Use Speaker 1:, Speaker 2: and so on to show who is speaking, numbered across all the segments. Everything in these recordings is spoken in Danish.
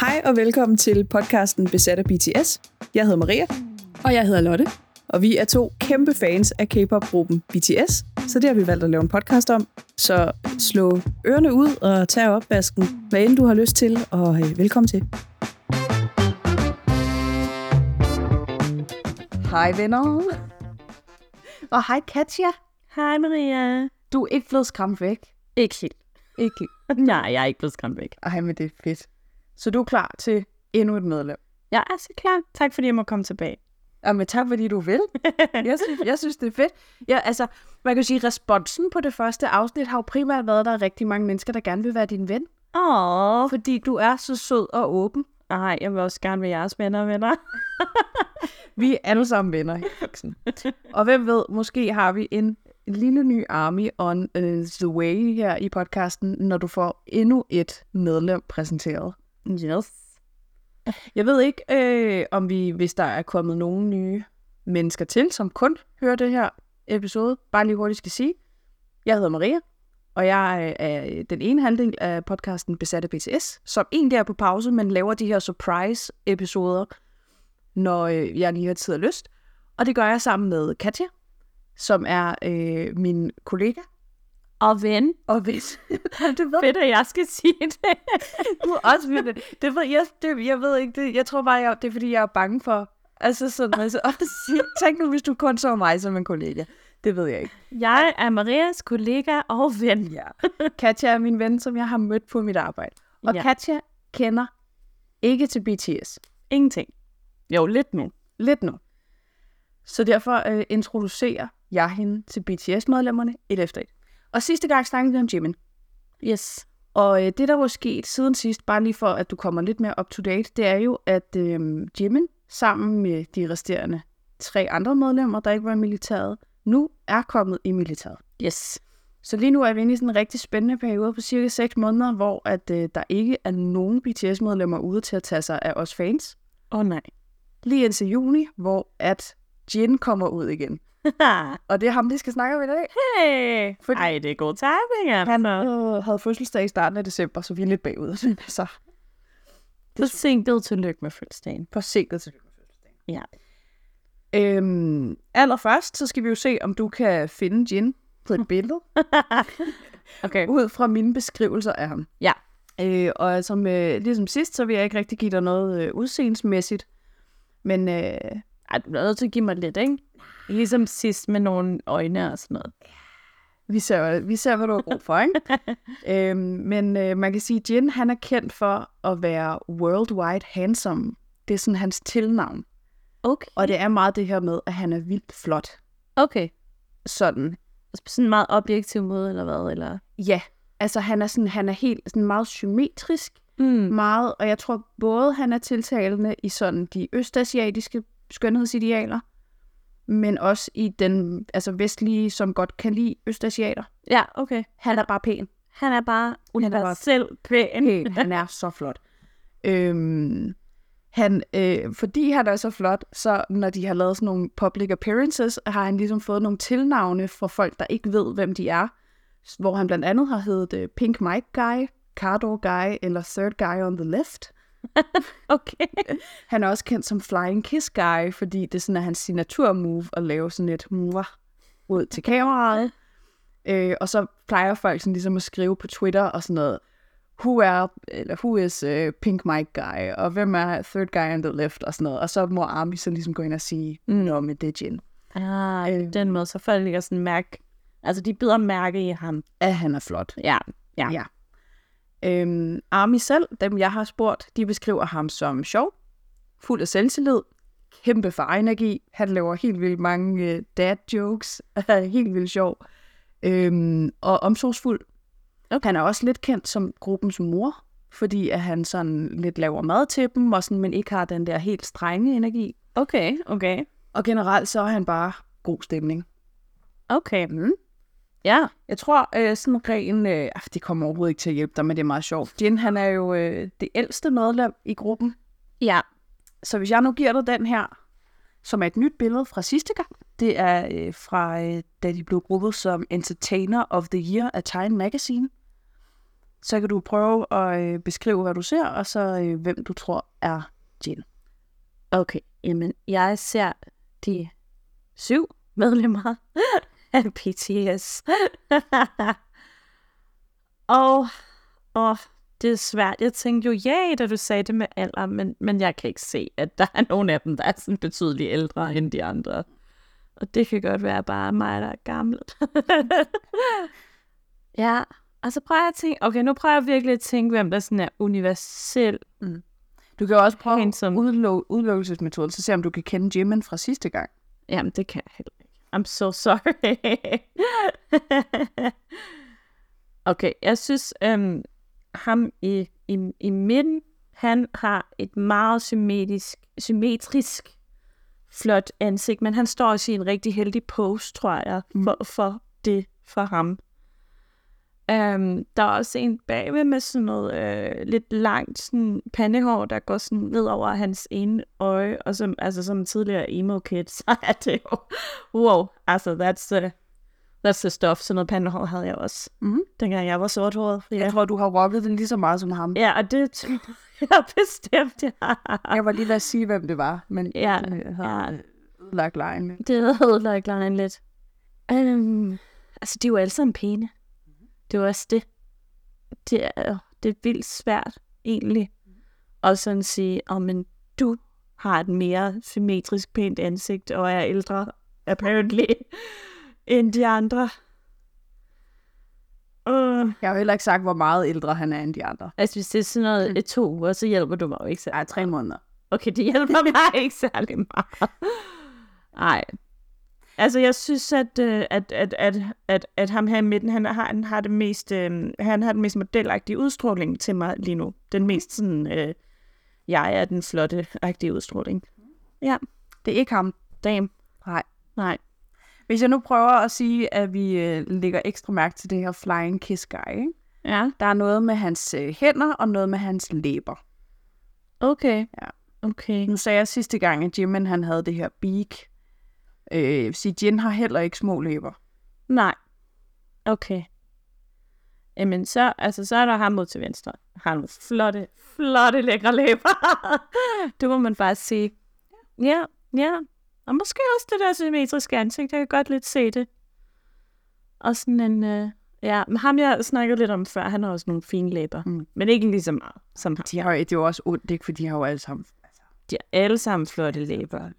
Speaker 1: Hej og velkommen til podcasten Besat af BTS. Jeg hedder Maria,
Speaker 2: Og jeg hedder Lotte.
Speaker 1: og vi er to kæmpe fans af K-pop-gruppen BTS, så det har vi valgt at lave en podcast om. Så slå ørerne ud og tag opvasken, hvad end du har lyst til, og øh, velkommen til.
Speaker 3: Hej venner. Og hej Katja.
Speaker 4: Hej Maria.
Speaker 3: Du er ikke blevet skræmt væk.
Speaker 4: Ikke helt.
Speaker 3: Ikke.
Speaker 4: Nej, jeg er ikke blevet skræmt væk.
Speaker 3: Ej, men det er fedt. Så du er klar til endnu et medlem.
Speaker 4: Jeg er så klar. Tak fordi jeg må komme tilbage.
Speaker 3: Jamen tak, fordi du vil. Jeg synes, jeg synes det er fedt. Ja, altså, man kan sige, responsen på det første afsnit har jo primært været, at der er rigtig mange mennesker, der gerne vil være din ven.
Speaker 4: Åh.
Speaker 3: Fordi du er så sød og åben.
Speaker 4: Nej, jeg vil også gerne være jeres venner og venner.
Speaker 3: Vi er alle sammen venner. i Foxen. og hvem ved, måske har vi en lille ny army on uh, the way her i podcasten, når du får endnu et medlem præsenteret.
Speaker 4: Yes.
Speaker 3: Jeg ved ikke, øh, om vi, hvis der er kommet nogle nye mennesker til, som kun hører det her episode, bare lige hurtigt skal sige. Jeg hedder Maria, og jeg øh, er den ene halvdel af podcasten Besatte BTS, som egentlig er på pause, men laver de her surprise-episoder, når øh, jeg lige har tid og lyst. Og det gør jeg sammen med Katja, som er øh, min kollega.
Speaker 4: Og ven.
Speaker 3: Og hvis... du ved,
Speaker 4: Fedt, at jeg skal sige det.
Speaker 3: du er også vildt. Det ved jeg, det, jeg ved ikke, det, jeg tror bare, jeg, det er fordi, jeg er bange for, altså sådan, altså, også, tænk nu, hvis du kun så mig som en kollega. Det ved jeg ikke.
Speaker 4: Jeg er Marias kollega og ven.
Speaker 3: Ja. Katja er min ven, som jeg har mødt på mit arbejde. Og ja.
Speaker 4: Ja.
Speaker 3: Katja kender ikke til BTS.
Speaker 4: Ingenting. Jo, lidt nu.
Speaker 3: Lidt nu. Så derfor øh, introducerer jeg hende til BTS-medlemmerne et efter et. Og sidste gang snakkede vi om Jimin.
Speaker 4: Yes.
Speaker 3: Og øh, det, der var sket siden sidst, bare lige for at du kommer lidt mere up to date, det er jo, at øh, Jimin sammen med de resterende tre andre medlemmer, der ikke var i militæret, nu er kommet i militæret.
Speaker 4: Yes.
Speaker 3: Så lige nu er vi inde i sådan en rigtig spændende periode på cirka 6 måneder, hvor at øh, der ikke er nogen BTS-medlemmer ude til at tage sig af os fans.
Speaker 4: Åh oh, nej.
Speaker 3: Lige indtil juni, hvor at Jin kommer ud igen. Og det er ham, vi skal snakke om i dag.
Speaker 4: hey.
Speaker 3: Fordi-
Speaker 4: Ej, det er god timing,
Speaker 3: Han
Speaker 4: altså.
Speaker 3: øh, havde fødselsdag i starten af december, så vi er lidt bagud. Men altså,
Speaker 4: Forsinket tillykke med fødselsdagen.
Speaker 3: forsinket til
Speaker 4: Ja.
Speaker 3: Øhm, allerførst, så skal vi jo se, om du kan finde Jin på et billede,
Speaker 4: Okay.
Speaker 3: ud fra mine beskrivelser af ham.
Speaker 4: Ja.
Speaker 3: Øh, og som, øh, ligesom sidst, så vil jeg ikke rigtig give dig noget øh, udseendsmæssigt, men øh,
Speaker 4: Ej, du er nødt til at give mig lidt, ikke? Ligesom sidst med nogle øjne og sådan noget.
Speaker 3: vi, ser, vi ser, hvad du har brug for, ikke? øhm, men øh, man kan sige, at Jin, han er kendt for at være worldwide handsome. Det er sådan hans tilnavn.
Speaker 4: Okay.
Speaker 3: Og det er meget det her med, at han er vildt flot.
Speaker 4: Okay. Altså
Speaker 3: Sådan
Speaker 4: på sådan en meget objektiv måde, eller hvad? Eller...
Speaker 3: Ja, altså han er sådan, han er helt sådan meget symmetrisk,
Speaker 4: Mm.
Speaker 3: meget, og jeg tror både han er tiltalende i sådan de østasiatiske skønhedsidealer, men også i den altså vestlige, som godt kan lide østasiater.
Speaker 4: Ja, okay.
Speaker 3: Han er bare pæn.
Speaker 4: Han er bare universelt pæn.
Speaker 3: Pæn. Han er så flot. Øhm, han, øh, fordi han er så flot, så når de har lavet sådan nogle public appearances, har han ligesom fået nogle tilnavne fra folk, der ikke ved, hvem de er. Hvor han blandt andet har heddet øh, Pink Mike Guy, Cardo Guy eller Third Guy on the Left.
Speaker 4: Okay.
Speaker 3: Han er også kendt som Flying Kiss Guy, fordi det sådan er hans signaturmove at lave sådan et mua ud til kameraet. Øh, og så plejer folk sådan ligesom at skrive på Twitter og sådan noget, who, er, eller who is uh, Pink Mike Guy, og hvem er Third Guy on the Left, og sådan noget. Og så må Army så ligesom gå ind og sige, nå, men det er Jin.
Speaker 4: Ah,
Speaker 3: Øh.
Speaker 4: på den måde, så folk ligger sådan mærke. Altså, de bider mærke i ham.
Speaker 3: At han er flot.
Speaker 4: Ja. Ja.
Speaker 3: Ja. Øhm, Army selv, dem jeg har spurgt, de beskriver ham som sjov, fuld af selvtillid, kæmpe farenergi. Han laver helt vildt mange øh, dad jokes, er helt vildt sjov øhm, og omsorgsfuld. Okay. Han er også lidt kendt som gruppens mor, fordi at han sådan lidt laver mad til dem, og sådan, men ikke har den der helt strenge energi.
Speaker 4: Okay, okay.
Speaker 3: Og generelt så er han bare god stemning.
Speaker 4: Okay.
Speaker 3: Mm.
Speaker 4: Ja.
Speaker 3: Jeg tror, øh, sådan ren... Øh, ah, det kommer overhovedet ikke til at hjælpe dig, men det er meget sjovt. Jin, han er jo øh, det ældste medlem i gruppen.
Speaker 4: Ja.
Speaker 3: Så hvis jeg nu giver dig den her, som er et nyt billede fra sidste gang, det er øh, fra, øh, da de blev gruppet som Entertainer of the Year af Time Magazine. så kan du prøve at øh, beskrive, hvad du ser, og så øh, hvem du tror er Jin.
Speaker 4: Okay, jamen, jeg ser de syv medlemmer af BTS. og, og det er svært. Jeg tænkte jo, ja, yeah, da du sagde det med alder, men, men jeg kan ikke se, at der er nogen af dem, der er sådan betydeligt ældre end de andre. Og det kan godt være bare mig, der er gammel. ja, og så prøver jeg at tænke, okay, nu prøver jeg virkelig at tænke, hvem der sådan er universel.
Speaker 3: Du kan jo også prøve
Speaker 4: Handsome.
Speaker 3: udlo- udelukkelsesmetoden, så se om du kan kende Jimin fra sidste gang.
Speaker 4: Jamen, det kan jeg heller ikke. I'm so sorry. okay, jeg synes, øhm, ham i, i, i midten, han har et meget symmetrisk, symmetrisk flot ansigt, men han står også i en rigtig heldig pose, tror jeg, for, for det for ham. Um, der er også en bagved med sådan noget øh, lidt langt sådan pandehår, der går sådan ned over hans ene øje, og som, altså, som tidligere emo kid, så er det jo, wow, altså that's the, that's the stuff. Sådan noget pandehår havde jeg også,
Speaker 3: Mhm.
Speaker 4: dengang jeg var sorthåret. Ja.
Speaker 3: Jeg tror, du har rocket den lige så meget som ham.
Speaker 4: ja, og det tror jeg bestemt, jeg har.
Speaker 3: Jeg var lige ved at sige, hvem det var, men
Speaker 4: Ja,
Speaker 3: Øh, jeg har
Speaker 4: ja,
Speaker 3: ødelagt lejen. lidt.
Speaker 4: det ødelagde Glenn lidt. Um, altså, de er jo alle sammen pæne. Det er jo også det. Det er, jo- det er vildt svært, egentlig. Og sådan sige, om oh, men du har et mere symmetrisk pænt ansigt, og er ældre, apparently, end de andre. Uh.
Speaker 3: Jeg har jo heller ikke sagt, hvor meget ældre han er end de andre.
Speaker 4: Altså, hvis det er sådan noget mm. to uger, så hjælper du mig jo ikke særlig
Speaker 3: Nej, tre måneder.
Speaker 4: Okay, det hjælper mig ikke særlig meget. Nej. Altså, jeg synes, at, øh, at, at, at, at, at ham her i midten, han har, han har, det mest, øh, han har den mest modelagtige udstråling til mig lige nu. Den mest sådan, øh, jeg er den flotte-agtige udstråling.
Speaker 3: Det er ikke ham.
Speaker 4: Damn.
Speaker 3: Nej.
Speaker 4: Nej.
Speaker 3: Hvis jeg nu prøver at sige, at vi øh, lægger ekstra mærke til det her flying kiss guy, ikke?
Speaker 4: Ja.
Speaker 3: der er noget med hans øh, hænder og noget med hans læber.
Speaker 4: Okay.
Speaker 3: Ja.
Speaker 4: Okay.
Speaker 3: Nu sagde jeg sidste gang, at Jimin han havde det her beak. Øh, sige, Jin har heller ikke små læber.
Speaker 4: Nej. Okay. Jamen, så, altså, så er der ham mod til venstre. Han har nogle flotte, flotte lækre læber. det må man bare sige. Ja, ja. Og måske også det der symmetriske ansigt. Jeg kan godt lidt se det. Og sådan en... Øh, ja, men ham jeg snakkede lidt om før, han har også nogle fine læber.
Speaker 3: Mm.
Speaker 4: Mm. Men ikke lige så meget som ham.
Speaker 3: De har, jo- det er jo også ondt, ikke? For de har jo alle sammen. Altså,
Speaker 4: De har alle sammen flotte læber.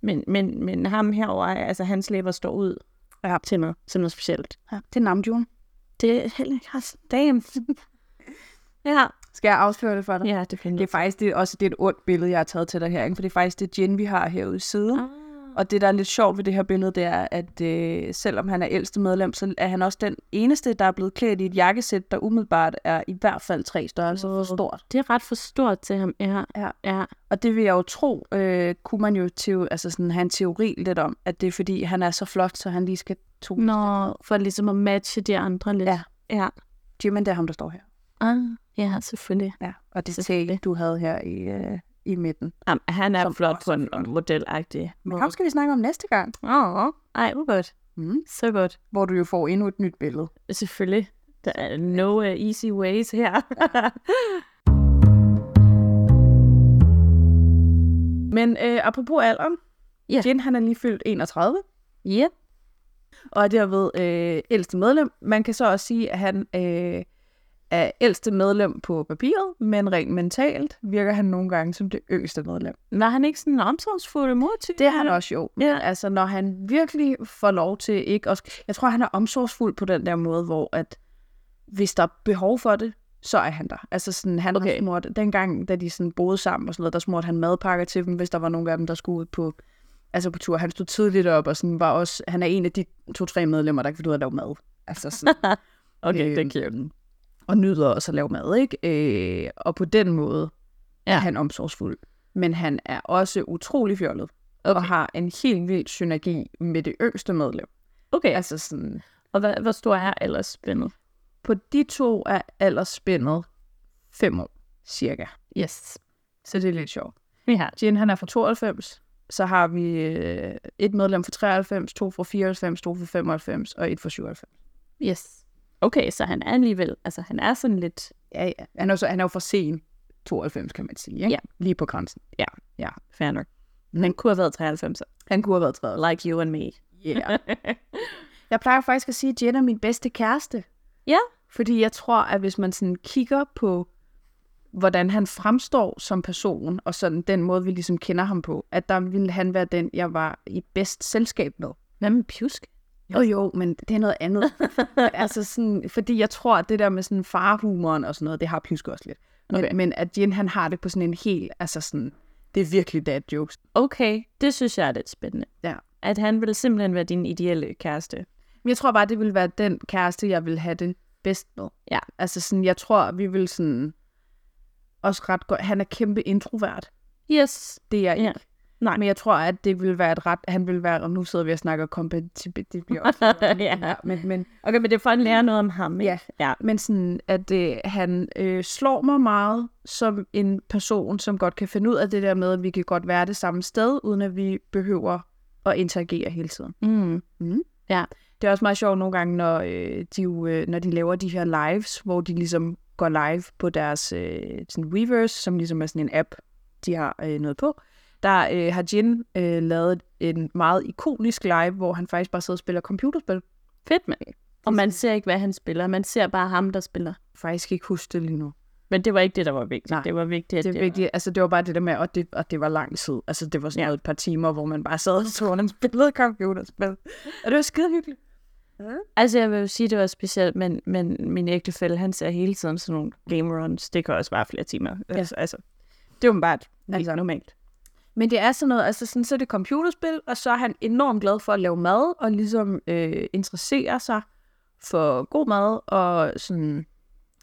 Speaker 4: Men, men, men ham herover, altså hans læber står ud
Speaker 3: Ja.
Speaker 4: til mig som noget specielt.
Speaker 3: ja, det er Namjoon.
Speaker 4: Det er heller ikke hans dame. ja.
Speaker 3: Skal jeg afsløre det for dig?
Speaker 4: ja, det finder
Speaker 3: Det er faktisk det, er også det er et ondt billede, jeg har taget til dig her, ikke? for det er faktisk det Jin, vi har herude i siden.
Speaker 4: Ah.
Speaker 3: Og det, der er lidt sjovt ved det her billede, det er, at øh, selvom han er ældste medlem, så er han også den eneste, der er blevet klædt i et jakkesæt, der umiddelbart er i hvert fald tre størrelser for stort.
Speaker 4: Det er ret for stort til ham. Ja,
Speaker 3: Ja.
Speaker 4: ja.
Speaker 3: Og det vil jeg jo tro, øh, kunne man jo teo- altså sådan, have en teori lidt om, at det er fordi, han er så flot, så han lige skal to. Mm.
Speaker 4: Nå, for ligesom at matche de andre lidt.
Speaker 3: Ja.
Speaker 4: Ja,
Speaker 3: Jimin, det er ham, der står her.
Speaker 4: ah, ja selvfølgelig.
Speaker 3: Ja. Og det er
Speaker 4: Selvfølgelig.
Speaker 3: Tay, du havde her i, øh, i midten.
Speaker 4: Jamen, han er
Speaker 3: Som
Speaker 4: Som flot
Speaker 3: også
Speaker 4: på
Speaker 3: er
Speaker 4: en
Speaker 3: flot.
Speaker 4: modelagtig
Speaker 3: Men ham skal vi snakke om næste gang,
Speaker 4: Åh, ej, hvor godt.
Speaker 3: Mm.
Speaker 4: Så godt.
Speaker 3: hvor du jo får endnu et nyt billede.
Speaker 4: Selvfølgelig. Der er no uh, easy ways her.
Speaker 3: Men øh, apropos alderen,
Speaker 4: Ja.
Speaker 3: Jin, han er lige fyldt 31.
Speaker 4: ja.
Speaker 3: og er derved øh, ældste medlem. Man kan så også sige, at han øh, er ældste medlem på papiret, men rent mentalt virker han nogle gange som det yngste medlem.
Speaker 4: Var han ikke sådan en omsorgsfuld mortype?
Speaker 3: Det er han også jo.
Speaker 4: Ja.
Speaker 3: Altså, når han virkelig får lov til ikke også... Jeg tror, han er omsorgsfuld på den der måde, hvor at hvis der er behov for det, så er han der. Altså sådan, han okay. har
Speaker 4: Okay.
Speaker 3: smurt, dengang, da de sådan boede sammen og sådan noget, der smurte han madpakker til dem, hvis der var nogen af dem, der skulle ud på, altså på tur. Han stod tidligt op og sådan var også, han er en af de to-tre medlemmer, der kan finde ud af at lave mad. Altså sådan,
Speaker 4: Okay,
Speaker 3: Øhm,
Speaker 4: det er cute.
Speaker 3: og nyder også at lave mad, ikke? Øh, og på den måde ja.
Speaker 4: Ja.
Speaker 3: er han omsorgsfuld. Men han er også utrolig fjollet, okay. og har en helt vild synergi med det yngste medlem.
Speaker 4: Okay,
Speaker 3: Altså sådan,
Speaker 4: Og hvad, hvor stor er ellers spændet?
Speaker 3: på de to er aldersspændet fem år, cirka.
Speaker 4: Yes.
Speaker 3: Så det er lidt sjovt.
Speaker 4: Vi har
Speaker 3: Jin, han er fra 92, så har vi øh, et medlem fra 93, to fra 94, to fra 95 og et fra 97.
Speaker 4: Yes. Okay, så han er alligevel, altså han er sådan lidt,
Speaker 3: Ja, ja. Han er, jo så, han er jo for sen 92, kan man sige. Ikke?
Speaker 4: Ja.
Speaker 3: Lige på grænsen.
Speaker 4: fair nok. Han kunne have været 93,
Speaker 3: Han kunne have været 30.
Speaker 4: like you and me.
Speaker 3: Yeah. jeg plejer faktisk at sige, at Jen er min bedste kæreste.
Speaker 4: Ja.
Speaker 3: Fordi jeg tror, at hvis man sådan kigger på, hvordan han fremstår som person, og sådan den måde, vi ligesom kender ham på, at der ville han være den, jeg var i bedst selskab med.
Speaker 4: Hvad med pjusk?
Speaker 3: Jo jo, men det er noget andet. altså sådan, fordi jeg tror, at det der med sådan farhumoren og sådan noget, det har Pjusk også lidt. Men,
Speaker 4: Okay.
Speaker 3: okay. men at Jen, han har det på sådan en helt, altså sådan, det er virkelig dad jokes.
Speaker 4: Okay, det synes jeg er lidt spændende.
Speaker 3: Ja.
Speaker 4: At han ville simpelthen være din ideelle kæreste.
Speaker 3: Men jeg tror bare, det ville være den kæreste, jeg ville have det bedst med.
Speaker 4: Ja.
Speaker 3: Altså sådan, jeg tror, vi vil sådan, også ret godt, han er kæmpe introvert.
Speaker 4: Yes.
Speaker 3: Det er jeg
Speaker 4: Ja.
Speaker 3: ikke.
Speaker 4: Nej.
Speaker 3: Men jeg tror, at det ville være et ret, han ville være, og nu sidder vi og snakker kompatibilitet, det bliver også.
Speaker 4: ja.
Speaker 3: men, men,
Speaker 4: Okay, men det er for at lære noget om ham, ikke?
Speaker 3: Ja.
Speaker 4: ja.
Speaker 3: men sådan, at øh, han øh, slår mig meget som en person, som godt kan finde ud af det der med, at vi kan godt være det samme sted, uden at vi behøver at interagere hele tiden.
Speaker 4: Mm.
Speaker 3: Det er også meget sjovt nogle gange, når, øh, de, jo, øh, når de laver de her lives, hvor de ligesom går live på deres øh, sådan Weverse, som ligesom er sådan en app, de har øh, noget på. Der øh, har Jin øh, lavet en meget ikonisk live, hvor han faktisk bare sidder og spiller computerspil.
Speaker 4: Fedt, mand. Og man ser ikke, hvad han spiller. Man ser bare ham, der spiller.
Speaker 3: Faktisk ikke huske det lige nu.
Speaker 4: Men det var ikke det, der var vigtigt.
Speaker 3: Nej.
Speaker 4: Det var vigtigt, at
Speaker 3: Det,
Speaker 4: det,
Speaker 3: er
Speaker 4: var...
Speaker 3: vigtigt, altså, det var bare det der med, og det, og det var lang tid. Altså det var sådan ja. et par timer, hvor man bare sad og så, og han spillede computerspil. Og det var skide hyggeligt.
Speaker 4: Altså, jeg vil jo sige, det var specielt, men, men min ægtefælle, han ser hele tiden sådan nogle game runs. Det kan også være flere timer. Ja. Altså, altså, det er åbenbart altså.
Speaker 3: Altså.
Speaker 4: normalt.
Speaker 3: Men det er sådan noget, altså sådan, så er det computerspil, og så er han enormt glad for at lave mad, og ligesom øh, interesserer sig for god mad, og sådan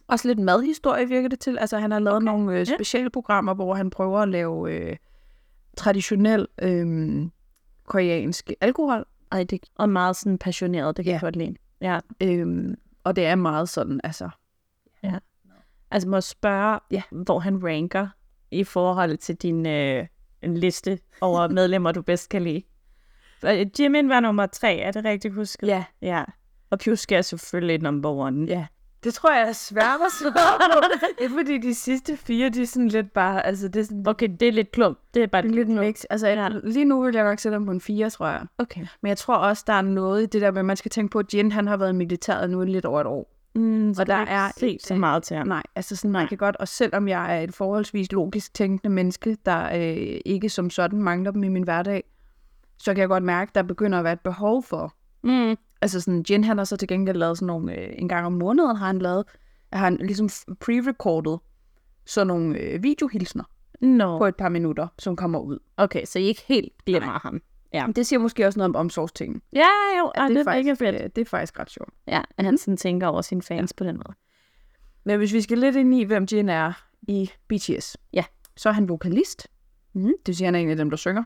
Speaker 3: også lidt madhistorie virker det til. Altså han har lavet okay. nogle øh,
Speaker 4: ja.
Speaker 3: specialprogrammer, hvor han prøver at lave øh, traditionel øh, koreansk alkohol,
Speaker 4: Ej, det... Og meget sådan passioneret, det kan
Speaker 3: Ja.
Speaker 4: jeg godt lide. Ja.
Speaker 3: øh, og det er meget sådan, altså
Speaker 4: Altså, må jeg spørge,
Speaker 3: Ja.
Speaker 4: hvor han ranker i forhold til din øh, en liste over medlemmer, du bedst kan lide? Øh, Jimin var nummer tre, er det rigtigt husket?
Speaker 3: Ja.
Speaker 4: ja. Og Pjusk er selvfølgelig number one.
Speaker 3: Ja. Det tror jeg, jeg sværmer så fordi de sidste fire, de er sådan lidt bare, altså det er sådan
Speaker 4: Okay, det er lidt klump. Det er bare
Speaker 3: lidt en mix. Altså ja. lige nu vil jeg nok sætte dem på en 4, tror jeg.
Speaker 4: Okay.
Speaker 3: Men jeg tror også, der er noget i det der med, at man skal tænke på, at Jen han har været i militæret nu i lidt over et år.
Speaker 4: Mm, og
Speaker 3: der
Speaker 4: der er
Speaker 3: er
Speaker 4: set
Speaker 3: ikke-
Speaker 4: så meget til ham.
Speaker 3: Nej, altså sådan, man kan godt, og selvom jeg er et forholdsvis logisk tænkende menneske, der øh, ikke som sådan mangler dem i min hverdag, så kan jeg godt mærke, at der begynder at være et behov for.
Speaker 4: Mm.
Speaker 3: Altså sådan, Jen han har så til gengæld lavet sådan nogle, øh, en gang om måneden har han lavet, har han ligesom pre-recordet sådan nogle øh, videohilsner på
Speaker 4: No.
Speaker 3: et par minutter, som kommer ud.
Speaker 4: Okay, så I ikke helt glemmer Nej. ham. Ja.
Speaker 3: Det siger måske også noget om omsorgstingen.
Speaker 4: Ja, jo, ja, det, det er
Speaker 3: faktisk,
Speaker 4: ikke fedt.
Speaker 3: øh, Mhm. det er faktisk ret sjovt.
Speaker 4: Ja, at han sådan tænker over sine fans ja. på den måde.
Speaker 3: Men hvis vi skal lidt ind i, hvem Jin er i BTS,
Speaker 4: Ja.
Speaker 3: så er han vokalist. Mm. Det vil sige, han er en af dem, der synger.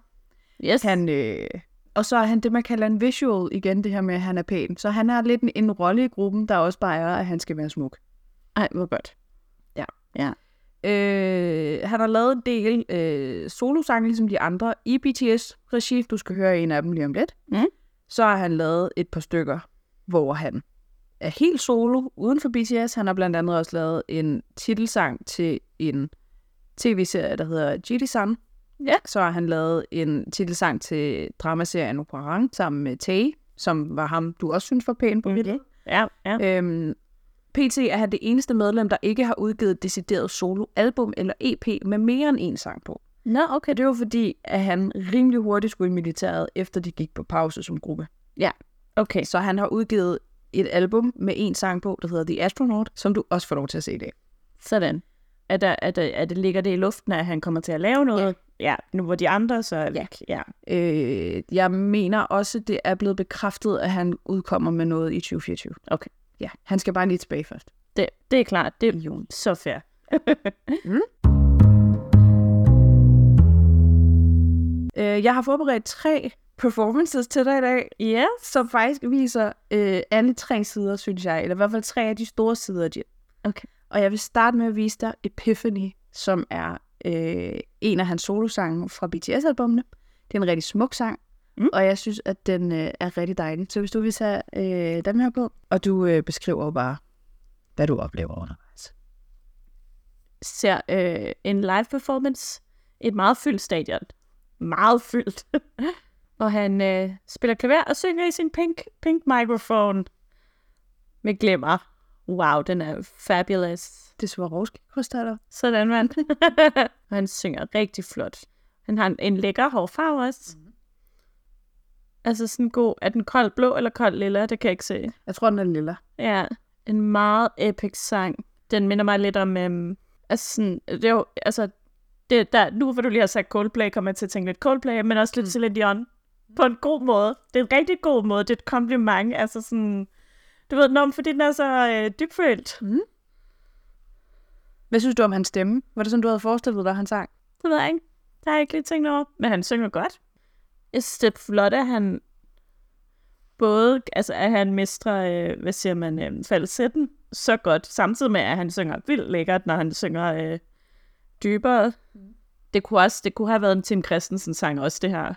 Speaker 4: Yes.
Speaker 3: Han, øh, og så er han det, man kalder en visual igen, det her med, at han er pæn. Så han er lidt en, en rolle i gruppen, der også bare er, at han skal være smuk.
Speaker 4: Ej, hvor godt.
Speaker 3: Øh, han har lavet en del øh, solosange, ligesom de andre, i BTS-regi. Du skal høre en af dem lige om lidt.
Speaker 4: Mm.
Speaker 3: Så har han lavet et par stykker, hvor han er helt solo uden for BTS. Han har blandt andet også lavet en titelsang til en tv-serie, der hedder Jirisan.
Speaker 4: Ja.
Speaker 3: Så har han lavet en titelsang til dramaserien Operang sammen med Tae, som var ham, du også synes var pæn på billedet.
Speaker 4: Ja, Mm-hmm. ja.
Speaker 3: Øhm, PT er han det eneste medlem, der ikke har udgivet et decideret soloalbum eller EP med mere end en sang på.
Speaker 4: Nå, okay.
Speaker 3: Og det var fordi, at han rimelig hurtigt skulle i militæret, efter de gik på pause som gruppe.
Speaker 4: Okay.
Speaker 3: Så han har udgivet et album med en sang på, der hedder The Astronaut, som du også får lov til at se i dag.
Speaker 4: Sådan. Er der, er, der, er det, ligger det i luften, at han kommer til at lave noget? Ja. ja nu hvor de andre så er væk. Ja.
Speaker 3: Øh, jeg mener også, det er blevet bekræftet, at han udkommer med noget i 2024.
Speaker 4: Okay.
Speaker 3: Ja, han skal bare lige tilbage først.
Speaker 4: Det, det er klart. Det er jo så fair.
Speaker 3: Øh, jeg har forberedt tre performances til dig i dag.
Speaker 4: Ja.
Speaker 3: som faktisk viser øh, alle tre sider, synes jeg, eller i hvert fald tre af de store sider af Jen.
Speaker 4: Okay.
Speaker 3: Og jeg vil starte med at vise dig Epiphany, som er øh, en af hans solosange fra BTS-albumene. Det er en rigtig smuk sang, Mm. Og jeg synes, at den øh, er rigtig dejlig. Så hvis du vil tage øh, den her på, og du øh, beskriver jo bare, hvad du oplever undervejs.
Speaker 4: ser øh, en live performance. Et meget fyldt stadion. Meget fyldt. og han øh, spiller klaver og synger i sin pink, pink microphone. Med glimmer. Wow, den er fabulous.
Speaker 3: Det er Swarovski-krystaller.
Speaker 4: Sådan, mand. og han synger rigtig flot. Han har en, en lækker hårfarve også. Mm. Altså sådan god, er den kold blå eller kold lilla, det kan jeg ikke se.
Speaker 3: Jeg tror, den er lilla.
Speaker 4: Ja, en meget epic sang. Den minder mig lidt om, øhm, altså sådan, det er jo, altså, det, der, nu hvor du lige har sagt Coldplay, kommer jeg til at tænke lidt Coldplay, men også lidt Celine Dion. På en god måde. Det er en rigtig god måde. Det er et kompliment. Altså sådan, du ved, når, fordi den er så øh, dybfølt.
Speaker 3: Hvad synes du om hans stemme? Var det sådan, du havde forestillet dig, han sang?
Speaker 4: Det ved jeg ikke. Det har jeg ikke lige tænkt over. Men han synger godt. Jeg synes, det er flot, at han både, altså at han mestrer, øh, hvad siger man, øh, falsetten så godt, samtidig med, at han synger vildt lækkert, når han synger øh, dybere. Mm. Det kunne også, det kunne have været en Tim Christensen sang også, det her.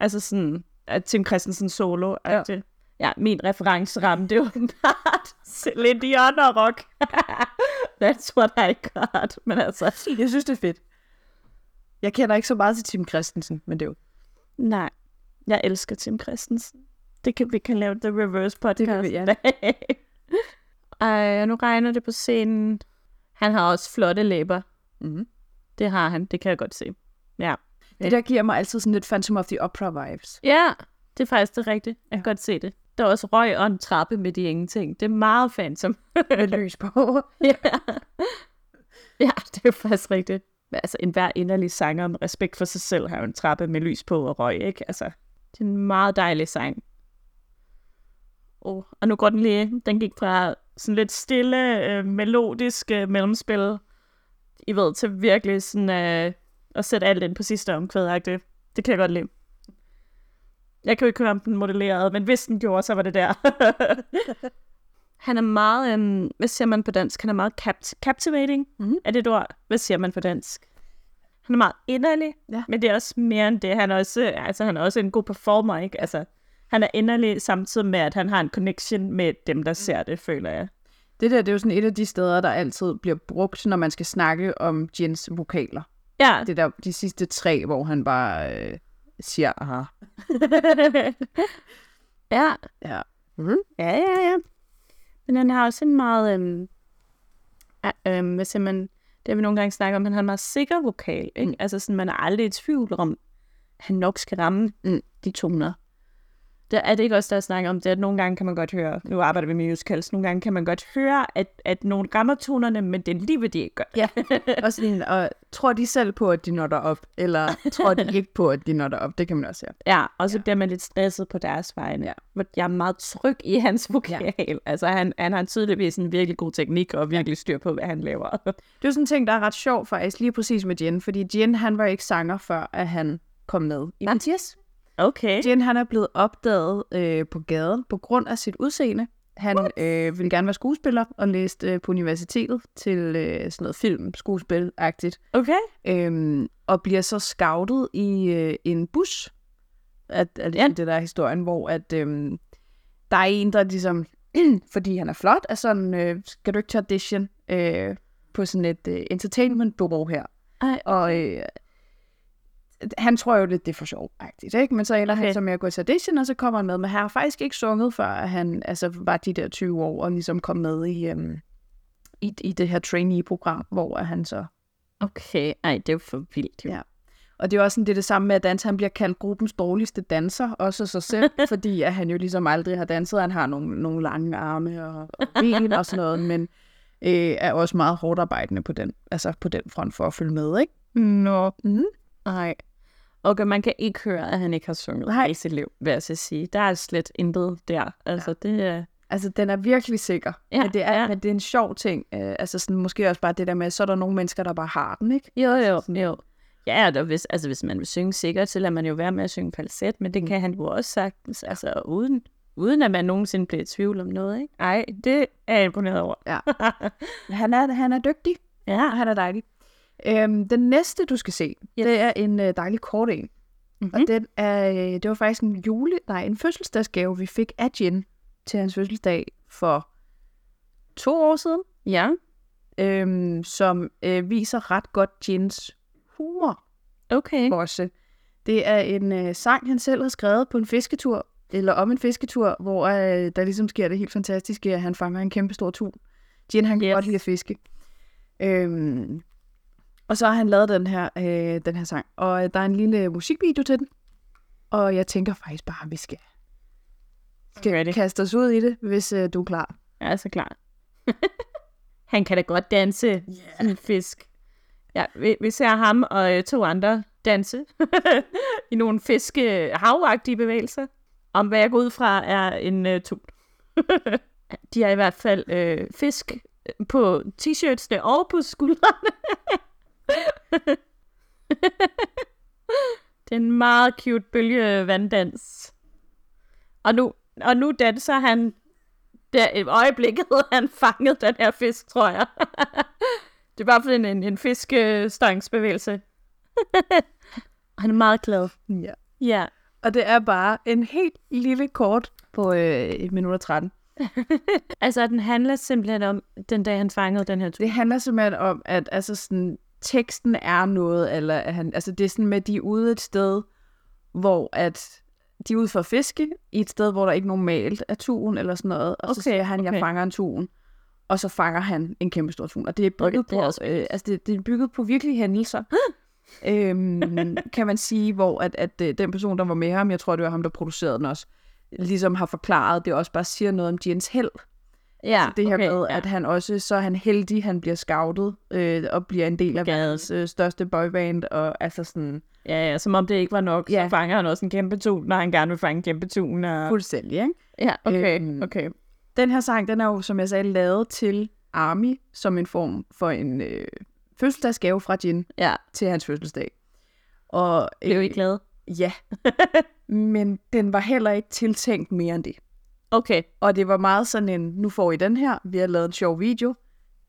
Speaker 4: Altså sådan, at Tim Christensen solo. At ja. Det, ja, min referenceramme, det er åbenbart Celine Dion og rock. That's what I got. Men altså,
Speaker 3: Jeg synes, det er fedt. Jeg kender ikke så meget til Tim Christensen, men det er jo...
Speaker 4: Nej, jeg elsker Tim Christensen. Det kan, vi kan lave The Reverse Podcast.
Speaker 3: kan vi, ja.
Speaker 4: Ej, og nu regner det på scenen. Han har også flotte læber.
Speaker 3: Mhm.
Speaker 4: Det har han, det kan jeg godt se. Ja.
Speaker 3: Det der giver mig altid sådan lidt Phantom of the Opera vibes.
Speaker 4: Ja, det er faktisk det rigtige. Jeg kan godt se det. Der er også røg og en trappe med de ingenting. Det er meget fansom.
Speaker 3: Med lys på.
Speaker 4: ja. ja, det er faktisk rigtigt. Men Altså, enhver inderlig sanger med respekt for sig selv har jo en trappe med lys på og røg, ikke? Altså, det er en meget dejlig sang. Oh, og nu går den lige, den gik fra sådan lidt stille, øh, melodisk øh, mellemspil, I ved, til virkelig sådan øh, at sætte alt ind på sidste omkvæd, det, det kan jeg godt lide. Jeg kan jo ikke høre, om den modellerede, men hvis den gjorde, så var det der. Han er meget, øhm, hvad siger man på dansk? Han er meget capt- captivating.
Speaker 3: Mhm.
Speaker 4: Er det et ord? Hvad siger man på dansk? Han er meget inderlig,
Speaker 3: Ja.
Speaker 4: men det er også mere end det. Han er også, altså, han er også en god performer, ikke? Altså, han er inderlig samtidig med, at han har en connection med dem,
Speaker 3: Mm.
Speaker 4: der ser det, føler jeg.
Speaker 3: Det der, det er jo sådan et af de steder, der altid bliver brugt, når man skal snakke om Jens vokaler.
Speaker 4: Ja,
Speaker 3: Det der, de sidste tre, hvor han bare øh, siger, aha.
Speaker 4: ja,
Speaker 3: Ja.
Speaker 4: Ja, ja, ja. Men han har også en meget, øhm, a- øhm, hvad siger man, det har vi nogle gange snakket om, han har en meget sikker vokal, ikke? Mm. Altså sådan, man er aldrig i tvivl om, at han nok skal ramme mm. de toner. Der er det ikke også, der snakker om det, at nogle gange kan man godt høre, nu arbejder vi med musicals, nogle gange kan man godt høre, at, at nogle rammer tonerne, men det er lige, hvad de ikke gør. Ja.
Speaker 3: Og sådan, og tror de selv på, at de når op, eller tror de ikke på, at de når op? Det kan man også se.
Speaker 4: Ja, og så ja. bliver man lidt stresset på deres vegne. Ja. Hvor jeg er meget tryg i hans vokal. Ja. Altså, han, han har tydeligvis en virkelig god teknik og virkelig styr på, hvad han laver.
Speaker 3: Det er jo sådan en ting, der er ret sjov faktisk, lige præcis med Jen, fordi Jen, han var ikke sanger, før at han kom med i Mathias.
Speaker 4: Okay.
Speaker 3: Jen, han er blevet opdaget øh, på gaden på grund af sit udseende. Han øh, ville gerne være skuespiller og læste øh, på universitetet til øh, sådan noget film, skuespil-agtigt.
Speaker 4: Okay.
Speaker 3: Øhm, og bliver så scoutet i øh, en bus. At, at ja. det der er historien, hvor at, øhm, der er en, der ligesom, fordi han er flot, er sådan, øh, skal du ikke til audition øh, på sådan et øh, entertainment-bureau her?
Speaker 4: Ej.
Speaker 3: Og øh, han tror jo lidt, det er for sjovt, ikke? Men så ender okay.
Speaker 4: Okay.
Speaker 3: han så med at gå til audition, og så kommer han med. Men han har faktisk ikke sunget, før han altså, var de der 20 år og ligesom kom med i, øhm, i, i det her trainee-program, hvor at han så
Speaker 4: Okay. Ej, det er jo for vildt. Jo.
Speaker 3: Ja. Og det er jo også sådan, det, er det samme med at danse. Han bliver kaldt gruppens dårligste danser, også af sig selv, fordi at han jo ligesom aldrig har danset. Han har nogle, nogle lange arme og, og ben og sådan noget, men øh, er også meget hårdt arbejdende på den, altså på den front for at følge med, ikke?
Speaker 4: Nå.
Speaker 3: Mhm.
Speaker 4: Ej. Okay, man kan ikke høre, at han ikke har sunget Nej. i sit liv, vil jeg så sige. Der er slet intet der. Altså, ja. det er...
Speaker 3: Altså, den er virkelig sikker.
Speaker 4: Ja,
Speaker 3: men, det er,
Speaker 4: ja.
Speaker 3: men det er en sjov ting. Øh, altså, sådan, måske også bare det der med, så er der nogle mennesker, der bare har den, ikke?
Speaker 4: Jo, jo, jo. Ja, der, hvis, altså, hvis man vil synge sikkert, så lader man jo være med at synge falset, men det kan han jo også sagtens, altså uden, uden at man nogensinde bliver i tvivl om noget, ikke? Ej, det er jeg imponeret over.
Speaker 3: Ja. Han er, han er dygtig,
Speaker 4: Ja,
Speaker 3: og han er dejlig. Øhm, den næste, du skal se,
Speaker 4: Yes.
Speaker 3: det er en øh, dejlig kort en.
Speaker 5: Mhm.
Speaker 3: Og den er, øh, det var faktisk en jule, nej, en fødselsdagsgave, vi fik af Jen til hans fødselsdag for to år siden,
Speaker 5: Ja.
Speaker 3: øhm, som øh, viser ret godt Jens humor
Speaker 4: Okay.
Speaker 3: også. Det er en øh, sang, han selv har skrevet på en fisketur, eller om en fisketur, hvor øh, der ligesom sker det helt fantastiske, at han fanger en kæmpe stor tun. Jin, han kan
Speaker 4: Yes.
Speaker 3: yes. godt lide at fiske. Øhm, og så har han lavet den her, øh, den her sang, og øh, der er en lille musikvideo til den, og jeg tænker faktisk bare, at vi skal,
Speaker 4: Gør
Speaker 3: skal
Speaker 4: det.
Speaker 3: kaste os ud i det, hvis øh, du er klar.
Speaker 4: Jeg er så klar. han kan da godt danse yeah. en fisk. Ja, vi, vi ser ham og øh, to andre danse i nogle fiske øh, havagtige bevægelser. Om hvad jeg går ud fra er en øh, tun. De har i hvert fald øh, fisk på t-shirtsene og på skuldrene. det er en meget cute bølgevanddans. Og nu, og nu danser han der i øjeblikket havde han fanget den her fisk, tror jeg. det er bare sådan en, en fiskestangsbevægelse. han er meget glad.
Speaker 3: Ja.
Speaker 4: Ja.
Speaker 3: Og det er bare en helt lille kort på øh, 1 minut og 13.
Speaker 4: Altså, den handler simpelthen om den dag, han fangede den her tur.
Speaker 3: Altså, Det handler simpelthen om, at altså sådan, teksten er noget, eller at han, altså det er sådan med, at de er ude et sted, hvor at de er ude for at fiske, i et sted, hvor der ikke normalt er tun eller sådan noget, og okay, så
Speaker 4: Okay,
Speaker 3: siger han, okay.
Speaker 4: okay.
Speaker 3: jeg fanger en tun, og så fanger han en kæmpe stor tun, og det er bygget
Speaker 4: Okay, det er
Speaker 3: på,
Speaker 4: også
Speaker 3: øh, altså det, det er bygget på virkelige hændelser, øhm, kan man sige, hvor at, at øh, den person, der var med ham, jeg tror, det var ham, der producerede den også, ligesom har forklaret, det også bare siger noget om Jens held,
Speaker 4: Ja,
Speaker 3: det her okay, med,
Speaker 4: Ah, ja.
Speaker 3: at han også, så er han heldig, han bliver scoutet, øh, og bliver en del af
Speaker 4: Gad.
Speaker 3: verdens øh, største boyband, og altså sådan,
Speaker 4: Ja, ja, som om det ikke var nok, ja.
Speaker 3: Ja.
Speaker 4: så fanger han også en kæmpe tun, når han gerne vil fange en kæmpe tun. Og...
Speaker 3: fuldstændig, ikke?
Speaker 4: Ja,
Speaker 3: Øhm,
Speaker 4: okay.
Speaker 3: Den her sang, den er jo, som jeg sagde, lavet til Army, som en form for en øh, fødselsdagsgave fra Jin
Speaker 4: Ja,
Speaker 3: til hans fødselsdag. Og øh,
Speaker 4: blev I glad?
Speaker 3: ja, men den var heller ikke tiltænkt mere end det.
Speaker 4: Okay,
Speaker 3: Og det var meget sådan en, nu får I den her, vi har lavet en sjov video,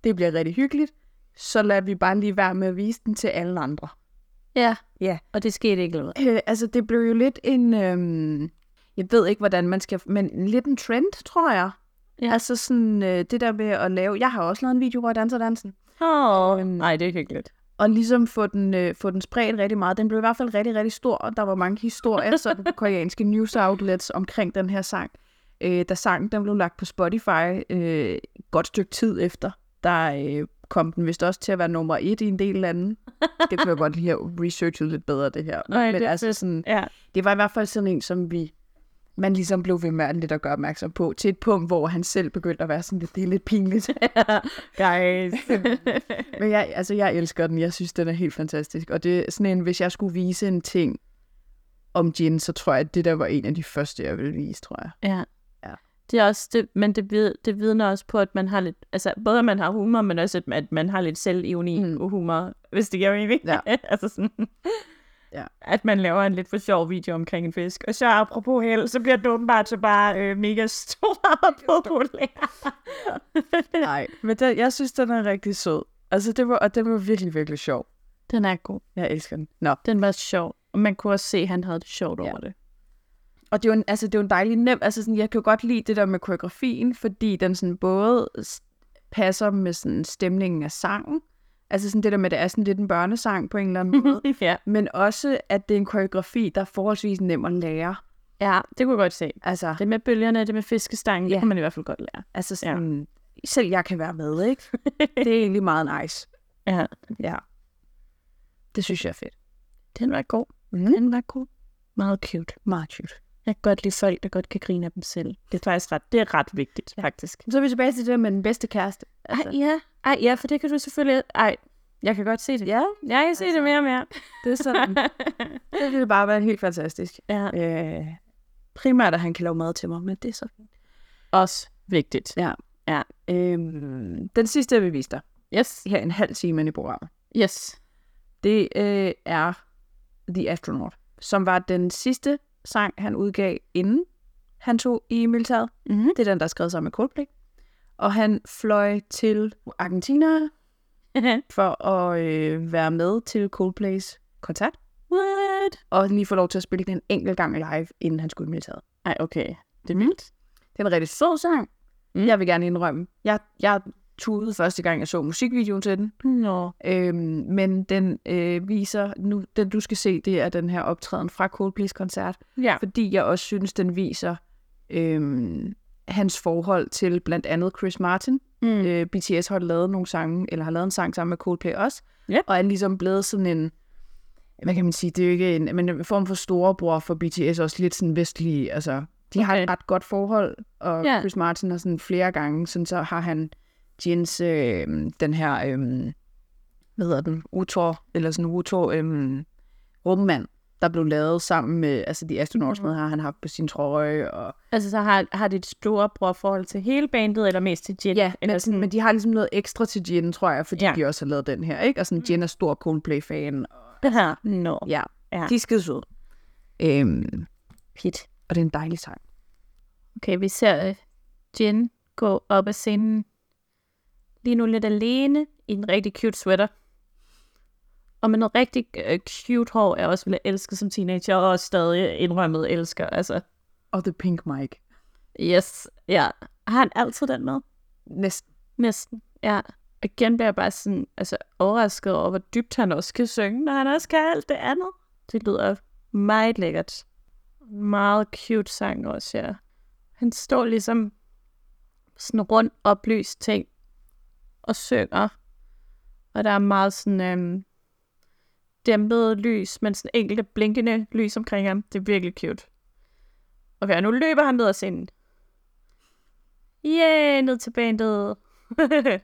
Speaker 3: det bliver rigtig hyggeligt, så lader vi bare lige være med at vise den til alle andre.
Speaker 4: ja.
Speaker 3: Ja.
Speaker 4: Og det skete ikke noget.
Speaker 3: Øh, altså, det blev jo lidt en... Øh, jeg ved ikke, hvordan man skal... Men lidt en trend, tror jeg.
Speaker 4: Ja.
Speaker 3: Ja. Altså sådan øh, det der med at lave... Jeg har også lavet en video, hvor jeg danser dansen.
Speaker 4: Oh, nej, det er hyggeligt.
Speaker 3: Og ligesom få den, øh, få den spredt rigtig meget. Den blev i hvert fald rigtig, rigtig stor, og der var mange historier, sådan på koreanske news outlets omkring den her sang. Øh, da sangen den blev lagt på Spotify øh, et godt stykke tid efter, der øh, kom den vist også til at være nummer et i en del lande. Det kunne jeg godt lige have researchet lidt bedre, det her. altså
Speaker 4: Nej, det er fedt.
Speaker 3: sådan,
Speaker 4: Ja.
Speaker 3: det var i hvert fald sådan en, som vi man ligesom blev ved med at lidt at gøre opmærksom på, til et punkt, hvor han selv begyndte at være sådan lidt, det er lidt pinligt.
Speaker 4: Guys.
Speaker 3: Men jeg, altså, jeg elsker den, jeg synes, den er helt fantastisk. Og det er sådan en, hvis jeg skulle vise en ting om Jin, så tror jeg, at det der var en af de første, jeg ville vise, tror jeg.
Speaker 4: Ja.
Speaker 3: Ja.
Speaker 4: Det er også det, men det, vid, det vidner også på, at man har lidt, altså både at man har humor, men også at, at man har lidt selvevne mm.
Speaker 3: Mm.
Speaker 4: og humor, hvis det giver mening.
Speaker 3: Ja.
Speaker 4: altså sådan,
Speaker 3: Ja.
Speaker 4: at man laver en lidt for sjov video omkring en fisk. Og så apropos held, så bliver det åbenbart så bare øh, mega stor og populær.
Speaker 3: Nej, men den, jeg synes, den er rigtig sød. Altså, det var, og den var virkelig, virkelig sjov.
Speaker 4: Den er god.
Speaker 3: Jeg elsker den. Nå.
Speaker 4: Den var sjov. Og man kunne også se, at han havde det sjovt ja. over det.
Speaker 3: Og det er jo en, altså, det er jo en dejlig nem, altså sådan, jeg kan jo godt lide det der med koreografien, fordi den sådan både s- passer med sådan stemningen af sangen, altså sådan det der med, at det er sådan lidt en børnesang på en eller anden måde,
Speaker 4: ja.
Speaker 3: men også, at det er en koreografi, der er forholdsvis nem at lære.
Speaker 4: ja, det kunne jeg godt se.
Speaker 3: Altså,
Speaker 4: Det med bølgerne, det med fiskestangen, ja. det
Speaker 3: Ja.
Speaker 4: kunne man i hvert fald godt lære.
Speaker 3: altså sådan, ja. selv jeg kan være med, ikke? det er egentlig meget nice.
Speaker 4: Ja.
Speaker 3: Ja. Det synes jeg er fedt.
Speaker 4: Den var god.
Speaker 3: Mm.
Speaker 4: Den var god. Meget cute.
Speaker 3: Meget cute.
Speaker 4: Jeg kan godt lide folk, der godt kan grine af dem selv. Det er faktisk ret, det er ret vigtigt, ja. faktisk. altså.
Speaker 3: Så er vi tilbage til det der med den bedste kæreste.
Speaker 4: Ej, ja. Ej, ja, for det kan du selvfølgelig... Ej, jeg kan godt se det.
Speaker 3: Ja,
Speaker 4: Jeg kan se det mere og mere.
Speaker 3: det er sådan. det ville bare være helt fantastisk.
Speaker 4: Ja.
Speaker 3: Øh, primært, at han kan lave mad til mig, men det er så fint.
Speaker 4: Også vigtigt.
Speaker 3: Ja.
Speaker 4: Ja.
Speaker 3: Øhm, den sidste, jeg vil vise dig,
Speaker 4: Yes.
Speaker 3: her en halv time inde i programmet,
Speaker 4: Yes.
Speaker 3: det øh, er The Astronaut, som var den sidste sang, han udgav, inden han tog i militæret.
Speaker 4: Mhm.
Speaker 3: Det er den, der er skrevet sammen med Coldplay. Og han fløj til Argentina for at øh, være med til Coldplays koncert.
Speaker 4: What?
Speaker 3: og lige få lov til at spille den en enkelt gang live, inden han skulle i militæret.
Speaker 4: Ej, okay. Det er vildt.
Speaker 3: Det er en rigtig sød sang. Mm. Jeg vil gerne indrømme. Jeg, jeg tudede første gang, jeg så musikvideoen til den.
Speaker 4: Nå.
Speaker 3: Øhm, men den øh, viser, nu, den du skal se, det er den her optræden fra Coldplay's koncert.
Speaker 4: Ja.
Speaker 3: Fordi jeg også synes, den viser øhm, hans forhold til blandt andet Chris Martin.
Speaker 4: Mm.
Speaker 3: Øh, BTS har lavet nogle sange, eller har lavet en sang sammen med Coldplay også.
Speaker 4: Ja.
Speaker 3: Og er ligesom blevet sådan en, hvad kan man sige, det er jo ikke en, men en form for storebror for BTS, også lidt sådan vestlige, altså, de har et ret godt forhold, og
Speaker 4: Ja.
Speaker 3: yeah. Chris Martin har sådan flere gange, sådan så har han Jens, øh, den her, øh, hvad hedder den, Utor, eller sådan Utor, øh, rummand, der blev lavet sammen med, altså de astronauter,
Speaker 4: Mm.
Speaker 3: mm-hmm. har han haft på sin trøje, og
Speaker 4: Altså, så har, har det et store brorforhold til hele bandet, eller mest til Jen?
Speaker 3: Ja,
Speaker 4: eller
Speaker 3: men, sådan, men de har ligesom noget ekstra til Jen, tror jeg, fordi
Speaker 4: Ja.
Speaker 3: ja. de også har lavet den her, ikke? Og sådan, Jen er stor Coldplay-fan.
Speaker 4: det her. Nå.
Speaker 3: Ja.
Speaker 4: Ja.
Speaker 3: De er skide søde. Øhm,
Speaker 4: Pit.
Speaker 3: og det er en dejlig sang.
Speaker 4: Okay, vi ser øh, Jen gå op ad scenen. Lige nu lidt alene i en rigtig cute sweater. Og med noget rigtig øh, cute hår, jeg også ville elske som teenager, og også stadig indrømmet elsker. Altså,
Speaker 3: Og The Pink Mic.
Speaker 4: yes, ja. Har han altid den med?
Speaker 3: Næsten.
Speaker 4: Næsten, ja. Og igen bliver jeg bare sådan, altså, overrasket over, hvor dybt han også kan synge, når han også kan alt det andet. Det lyder meget lækkert. Meget cute sang også, ja. Han står ligesom sådan rundt oplyst ting og synger. Og der er meget sådan øhm, dæmpet lys, men sådan enkelte blinkende lys omkring ham. Det er virkelig cute. Okay, og nu løber han ned ad scenen. Yay, ned til bandet.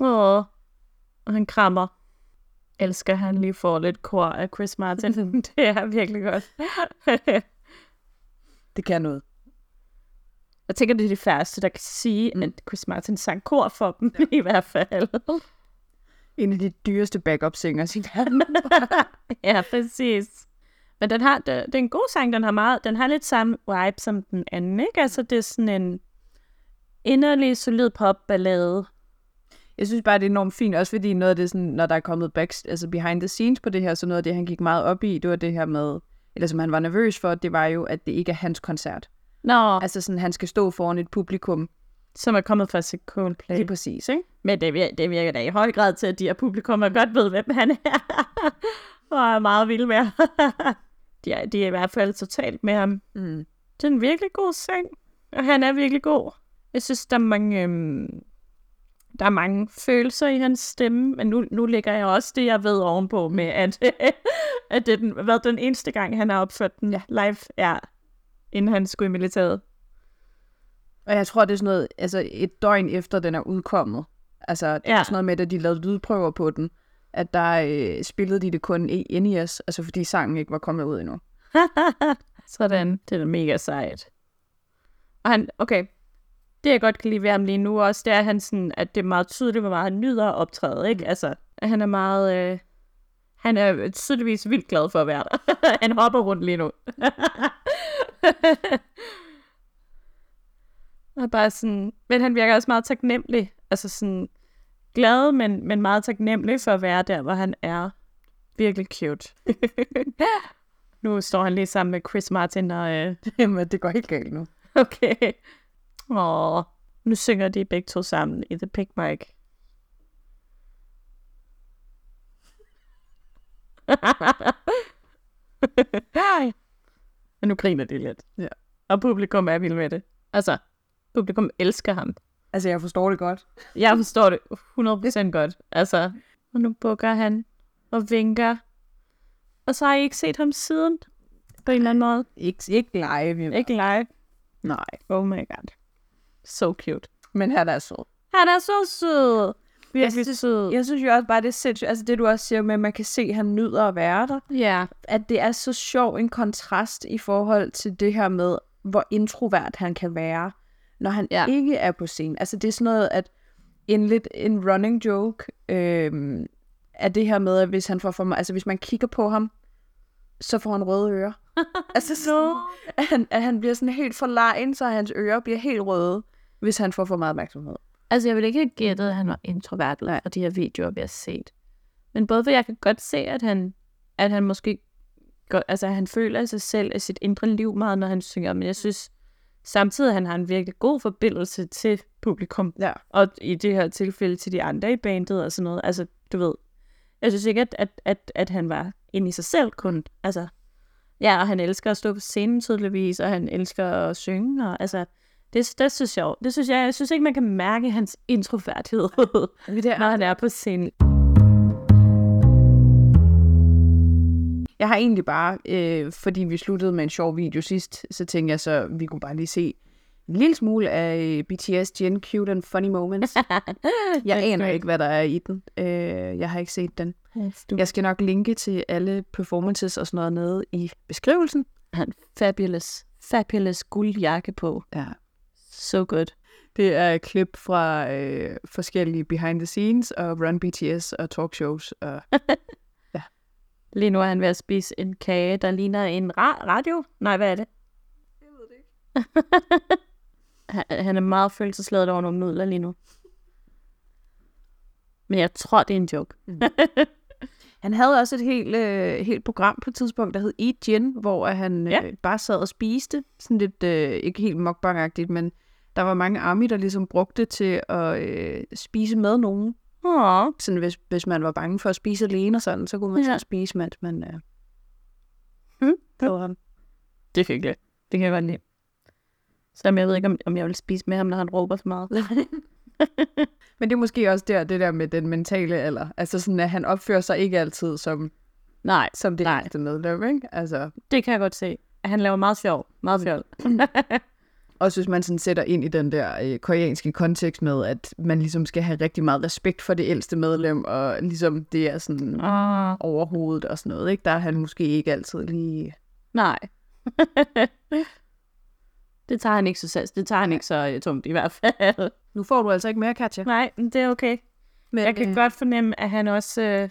Speaker 4: Åh, og han krammer. Elsker, at han lige får lidt kor af Chris Martin. det er virkelig godt.
Speaker 3: Det kan noget.
Speaker 4: Jeg tænker, det er de færreste, der kan sige, mm. at Chris Martin sang kor for dem, ja. i hvert fald.
Speaker 3: En af de dyreste backup-singers i verden.
Speaker 4: ja, præcis. Men den har, det, det er en god sang, den har meget, den har lidt samme vibe som den anden, ikke? Altså, det er sådan en inderlig, solid popballade.
Speaker 3: Jeg synes bare, det er enormt fint, også fordi noget af det, sådan, når der er kommet back, altså behind the scenes på det her, så noget af det, han gik meget op i, det var det her med, eller som han var nervøs for, det var jo, at det ikke er hans koncert.
Speaker 4: Nå,
Speaker 3: Altså sådan, han skal stå foran et publikum.
Speaker 4: som er kommet fra sit Coldplay.
Speaker 3: Lige præcis, ikke?
Speaker 4: Men det virker, det virker da i høj grad til, at de her publikummer godt ved, hvem han er. og er meget vilde med ham. de, er, de er i hvert fald totalt med ham.
Speaker 3: Mm.
Speaker 4: Det er en virkelig god sang. Og han er virkelig god. Jeg synes, der er mange, øhm, der er mange følelser i hans stemme. Men nu, nu lægger jeg også det, jeg ved ovenpå med, at, at det er den, været den eneste gang, han har opført den ja. live. Ja, inden han skulle i militæret.
Speaker 3: Og jeg tror, det er sådan noget, altså et døgn efter den er udkommet. Altså, det ja.
Speaker 4: Ja.
Speaker 3: er sådan noget med, at de lavede lydprøver på den, at der øh, spillede de det kun i NES, altså fordi sangen ikke var kommet ud endnu.
Speaker 4: Sådan. Det er da mega sejt. Og han, okay, det jeg godt kan lide ved ham lige nu også, det er, at, han sådan, at det er meget tydeligt, hvor meget han nyder at optræde, ikke? Altså, at han er meget, øh, han er tydeligvis vildt glad for at være der. han hopper rundt lige nu. og bare sådan, men han virker også meget taknemmelig, altså sådan glad, men, men meget taknemmelig for at være der, hvor han er. Virkelig cute. nu står han lige sammen med Chris Martin og øh,
Speaker 3: Jamen, det går helt galt nu.
Speaker 4: Okay. Åh, nu synger de begge to sammen i The Pig Mic. Hej. Men nu griner de lidt.
Speaker 3: Ja.
Speaker 4: Og publikum er vild med det. Altså, publikum elsker ham.
Speaker 3: Altså, jeg forstår det godt.
Speaker 4: Jeg forstår det 100% godt. Altså, og nu bukker han og vinker. Og så har I ikke set ham siden. På en eller anden måde.
Speaker 3: Ikke, ikke live.
Speaker 4: Ikke live.
Speaker 3: Nej.
Speaker 4: Oh my god. So cute.
Speaker 3: Men her er der så.
Speaker 4: Han er så sød. Virkelig
Speaker 3: synes-
Speaker 4: sød.
Speaker 3: Jeg synes jo også bare, det er sindssygt. Altså det, du også siger med, at man kan se, at han nyder at være der.
Speaker 4: Ja.
Speaker 3: At det er så sjov en kontrast i forhold til det her med, hvor introvert han kan være, når han
Speaker 4: Ja.
Speaker 3: ja. ikke er på scenen. Altså det er sådan noget, at en lidt en running joke øh, er det her med, at hvis, han får for, me- altså, hvis man kigger på ham, så får han røde ører. altså sådan, at, han, at han bliver sådan helt forlegen, så hans ører bliver helt røde, hvis han får for meget opmærksomhed.
Speaker 4: Altså, jeg ville ikke have gættet, at han var introvert, og de her videoer, vi har set. Men både for jeg kan godt se, at han at han måske godt, altså han føler sig selv af sit indre liv meget, når han synger, men jeg synes samtidig, at han har en virkelig god forbindelse til publikum,
Speaker 3: Ja.
Speaker 4: og i det her tilfælde til de andre i bandet og sådan noget. Altså, du ved, jeg synes ikke, at, at, at, at han var inde i sig selv kun. Altså, ja, og han elsker at stå på scenen tydeligvis, og han elsker at synge, og altså, det, det synes jeg, jo- det synes jeg, jeg synes ikke, man kan mærke hans introværdighed,
Speaker 3: Det
Speaker 4: når han er på scenen.
Speaker 3: Jeg har egentlig bare, øh, fordi vi sluttede med en sjov video sidst, så tænkte jeg så, vi kunne bare lige se en lille smule af øh, BTS Gen Cute and Funny Moments. Jeg aner ikke, hvad der er i den. Øh, jeg har ikke set den.
Speaker 4: Du
Speaker 3: Jeg skal nok linke til alle performances og sådan noget nede i beskrivelsen.
Speaker 4: har en fabulous, fabulous guldjakke på.
Speaker 3: Ja.
Speaker 4: So good.
Speaker 3: Det er et klip fra øh, forskellige behind the scenes og Run BTS og talkshows. Og...
Speaker 4: Lige nu er han ved at spise en kage, der ligner en ra- radio. Nej, hvad er det? Jeg ved det ikke. han er meget følelsesladet over nogle nudler lige nu. Men jeg tror, det er en joke.
Speaker 3: Han havde også et helt, øh, helt program på et tidspunkt, der hed Eat Gin, hvor at han ja.
Speaker 4: Ja.
Speaker 3: øh, bare sad og spiste. Sådan lidt, øh, ikke helt mukbang men der var mange army, der ligesom brugte det til at øh, spise med nogen.
Speaker 4: Åh,
Speaker 3: Sådan, hvis, hvis man var bange for at spise alene og sådan, så kunne man ja.
Speaker 4: Ja.
Speaker 3: så spise, mens man øh,
Speaker 4: Mm.
Speaker 3: så ham.
Speaker 4: det er hyggeligt. Det kan jeg godt lide. Selvom jeg ved ikke, om, om jeg vil spise med ham, når han råber så meget.
Speaker 3: Men det er måske også der, det der med den mentale alder. Altså sådan, at han opfører sig ikke altid som,
Speaker 4: Nej,
Speaker 3: som det
Speaker 4: Nej.
Speaker 3: eneste medlem, ikke? Altså,
Speaker 4: det kan jeg godt se. Han laver meget sjov. Meget sjov.
Speaker 3: også hvis man sådan sætter ind i den der øh, koreanske kontekst med, at man ligesom skal have rigtig meget respekt for det ældste medlem, og ligesom det er sådan
Speaker 4: Ah.
Speaker 3: overhovedet og sådan noget, ikke? Der er han måske ikke altid lige...
Speaker 4: Nej. det tager han ikke så sats. Det tager han ikke så øh, tungt i hvert fald.
Speaker 3: Nu får du altså ikke mere, Katja.
Speaker 4: Nej, men det er okay.
Speaker 3: Men,
Speaker 4: Jeg kan
Speaker 3: øh,
Speaker 4: godt fornemme, at han også øh,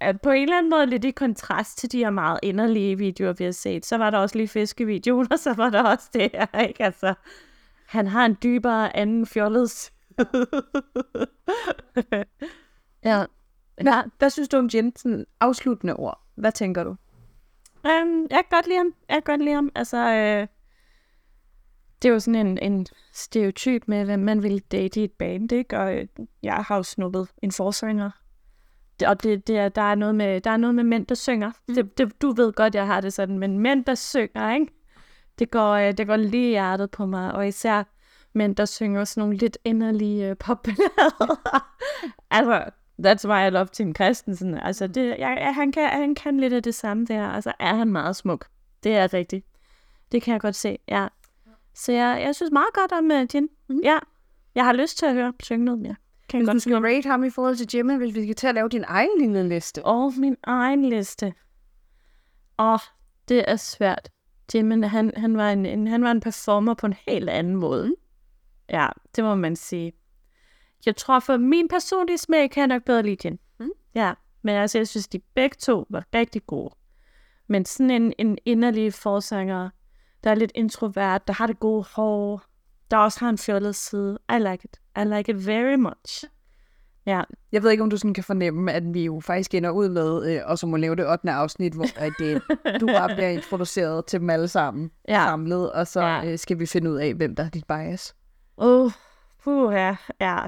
Speaker 4: er på en eller anden måde lidt i kontrast til de her meget inderlige videoer, vi har set. Så var der også lige fiskevideoen, og så var der også det her, ikke? Altså, han har en dybere anden fjollet side. ja.
Speaker 3: Hvad, hvad synes du om Jensen afsluttende ord? Hvad tænker du?
Speaker 4: Um, jeg kan godt lide ham. Jeg kan godt lide ham. Altså, øh, det er jo sådan en, en stereotyp med, hvem man ville date i et band, ikke? Og øh, jeg har jo snuppet en forsanger. Det- Og det, det er, der, er noget med, der er noget med mænd, der synger.
Speaker 3: Mm.
Speaker 4: Det, det, du ved godt, jeg har det sådan, men mænd, der synger, ikke? Det går, øh, det går lige i hjertet på mig, og især mænd, der synger sådan nogle lidt inderlige øh, popballader. altså, that's why I love Tim Christensen. Altså, det, jeg, jeg, han, kan, han kan lidt af det samme der, og så er han meget smuk. Det er rigtigt. Det kan jeg godt se, ja. Så jeg, jeg synes meget godt om uh, Jin. Mm-hmm. Ja, jeg har lyst til at høre ham synge noget mere. Kan jeg godt
Speaker 3: skal rate ham i forhold til Jimmy, hvis vi skal til at lave din egen lille liste.
Speaker 4: og min egen liste. Åh, det er svært. Jamen, han, han, var en, en, han var en performer på en helt anden måde. Ja, det må man sige. Jeg tror, for min personlige smag kan jeg nok bedre lide den. Mm. Ja, men altså, jeg synes, de begge to var rigtig gode. Men sådan en, en inderlig forsanger, der er lidt introvert, der har det gode hår, der også har en fjollet side. I like it. I like it very much. Ja,
Speaker 3: Jeg ved ikke, om du sådan kan fornemme, at vi jo faktisk ender ud med, øh, og så må lave det 8. afsnit, hvor at, øh, du bare bliver introduceret til dem alle sammen
Speaker 4: Ja.
Speaker 3: samlet, og så
Speaker 4: Ja.
Speaker 3: øh, skal vi finde ud af, hvem der er dit bias.
Speaker 4: Åh, oh, puh, ja, ja.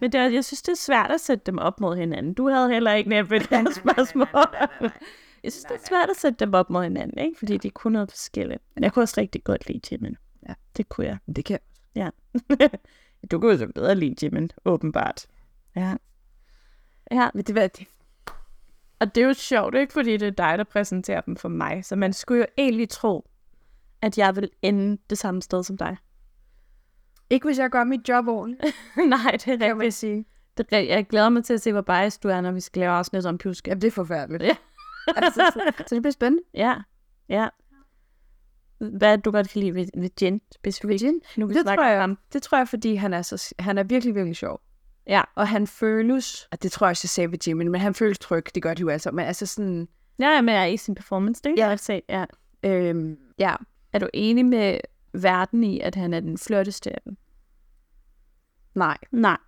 Speaker 4: Men det, er- jeg synes, det er svært at sætte dem op mod hinanden. Du havde heller ikke nemt ved det her spørgsmål. Jeg synes, det er svært at sætte dem op mod hinanden, ikke? fordi de kunne noget forskelligt. Men jeg kunne også rigtig godt lide Jimin.
Speaker 3: Ja.
Speaker 4: Det kunne jeg.
Speaker 3: Det kan
Speaker 4: Du kunne jo så bedre lide Jimin, åbenbart. Ja. Ja, men det var det. Og det er jo sjovt, ikke? Fordi det er dig, der præsenterer dem for mig. Så man skulle jo egentlig tro, at jeg vil ende det samme sted som dig.
Speaker 3: Ikke hvis jeg gør mit job ordentligt.
Speaker 4: Nej, det er rigtigt. Jeg, sige. Det er, ri- jeg glæder mig til at se, hvor biased du er, når vi skal lave afsnit om pjuske.
Speaker 3: Jamen, det er forfærdeligt.
Speaker 4: Ja.
Speaker 3: altså, så, så det bliver spændende.
Speaker 4: Ja, ja. Hvad er det, du godt kan lide ved, ved Jen specifikt?
Speaker 3: Jen?
Speaker 4: Nu vi
Speaker 3: Det
Speaker 4: snakker
Speaker 3: tror jeg.
Speaker 4: om ham.
Speaker 3: Det tror jeg, fordi han er, så, han er virkelig, virkelig sjov.
Speaker 4: Ja.
Speaker 3: Og han føles, og det tror jeg også, jeg sagde ved Jimmy, men han føles tryg, det gør det jo altså. Men altså sådan,
Speaker 4: Ja, men jeg er i sin performance, det kan
Speaker 3: Ja.
Speaker 4: jeg godt se. Ja.
Speaker 3: øhm, ja,
Speaker 4: Er du enig med verden i, at han er den flotteste af dem?
Speaker 3: nej,
Speaker 4: Nej.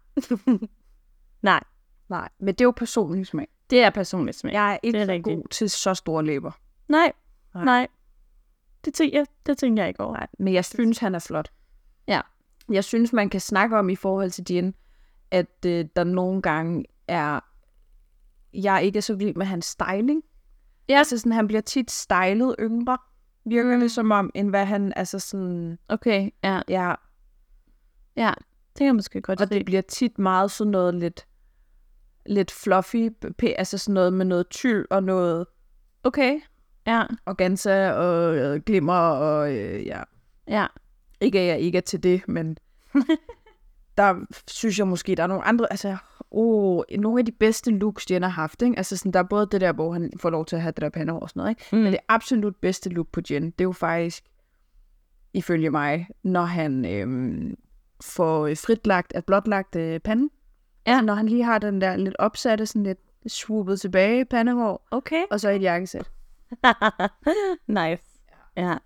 Speaker 4: Nej.
Speaker 3: nej. Men det er jo personlig smag.
Speaker 4: Det er personligt smag.
Speaker 3: Jeg er ikke
Speaker 4: Det
Speaker 3: er
Speaker 4: er
Speaker 3: så
Speaker 4: rigtigt.
Speaker 3: god til så store læber.
Speaker 4: Nej,
Speaker 3: Nej.
Speaker 4: nej. nej. Det, tænker jeg, det tænker jeg ikke over.
Speaker 3: Men jeg synes, han er flot.
Speaker 4: Ja.
Speaker 3: Jeg synes, man kan snakke om i forhold til Jin, at øh, der nogle gange er... Jeg ikke er så vild med hans styling.
Speaker 4: Ja. Mm.
Speaker 3: Altså sådan, han bliver tit stylet yngre, virker det som om, end hvad han, altså sådan,
Speaker 4: Okay, ja.
Speaker 3: ja,
Speaker 4: Altså Det kan jeg måske godt
Speaker 3: og
Speaker 4: se.
Speaker 3: det bliver tit meget sådan noget lidt, lidt fluffy, p- altså sådan noget med noget tyld og noget
Speaker 4: Okay, ja,
Speaker 3: organza og øh, glimmer og øh, ja,
Speaker 4: ja.
Speaker 3: Ikke at jeg ikke er til det, men der synes jeg måske, der er nogle andre, altså, oh, nogle af de bedste looks, Jen har haft, ikke? Altså sådan, der er både det der, hvor han får lov til at have det der pandehår og sådan noget, ikke?
Speaker 4: Mm.
Speaker 3: Men det absolut bedste look på Jen, det er jo faktisk, ifølge mig, når han øhm, får øh, fritlagt, at blotlagt øh, panden. Ja. Når han lige har den der lidt opsatte, sådan lidt swoopet tilbage pandehår,
Speaker 4: Okay.
Speaker 3: og så et jakkesæt.
Speaker 4: nice. Ja.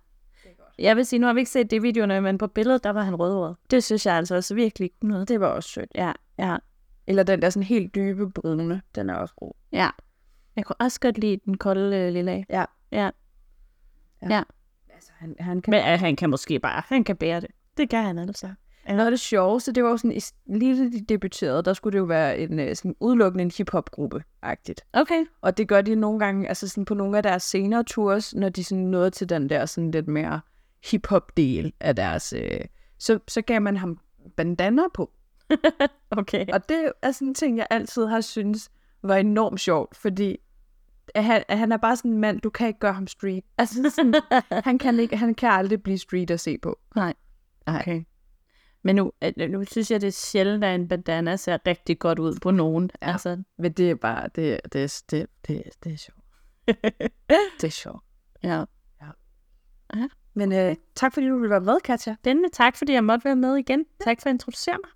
Speaker 4: Jeg vil sige, nu har vi ikke set det video, men på billedet, der var han rødhåret. Det synes jeg altså også virkelig kunne noget. Det var også sødt. Ja, ja.
Speaker 3: Eller den der sådan helt dybe brune, den er også god.
Speaker 4: Jeg kunne også godt lide den kolde øh, lille af.
Speaker 3: Ja.
Speaker 4: ja.
Speaker 3: Altså, han, han kan
Speaker 4: Men øh, han kan måske bare, han kan bære det. Det kan han altså.
Speaker 3: Noget af det sjoveste, det var jo sådan, i- lige da de debuterede, der skulle det jo være en, øh, sådan udelukkende en hiphop-gruppe-agtigt.
Speaker 4: Okay.
Speaker 3: Og det gør de nogle gange, altså sådan på nogle af deres senere tours, når de sådan nåede til den der sådan lidt mere hiphop-del af deres... Øh, så, så gav man ham bandana på.
Speaker 4: Okay.
Speaker 3: Og det er sådan en ting, jeg altid har synes var enormt sjovt, fordi at han, at han er bare sådan en mand, du kan ikke gøre ham street. Altså sådan, han, kan ikke, han kan aldrig blive street at se på.
Speaker 4: Okay. Men nu, øh, nu synes jeg, det er sjældent, at en bandana ser rigtig godt ud på nogen. Ja. Altså,
Speaker 3: Men det er bare, det, det, det, det, det er sjovt. det er sjovt.
Speaker 4: ja.
Speaker 3: Men øh, tak fordi du ville være med, Katja.
Speaker 4: Spændende. Tak, fordi jeg måtte være med igen. Tak for at introducere mig.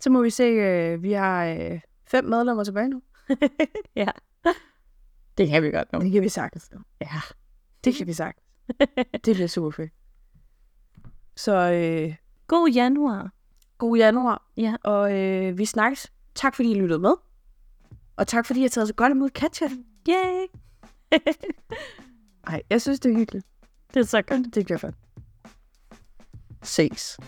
Speaker 3: Så må vi se, øh, vi har øh, fem medlemmer tilbage nu.
Speaker 4: ja. Det kan vi godt nu.
Speaker 3: Det kan vi sagtens.
Speaker 4: Ja.
Speaker 3: Det kan vi sagtens. det bliver super fedt. Så øh,
Speaker 4: God januar.
Speaker 3: god januar.
Speaker 4: Ja.
Speaker 3: Og øh, vi snakkes. Tak fordi I lyttede med. Og tak fordi I har taget så godt imod Katja.
Speaker 4: Yay.
Speaker 3: Nej, jeg synes, det er hyggeligt.
Speaker 4: Det er så godt.
Speaker 3: Det bliver fedt. Ses.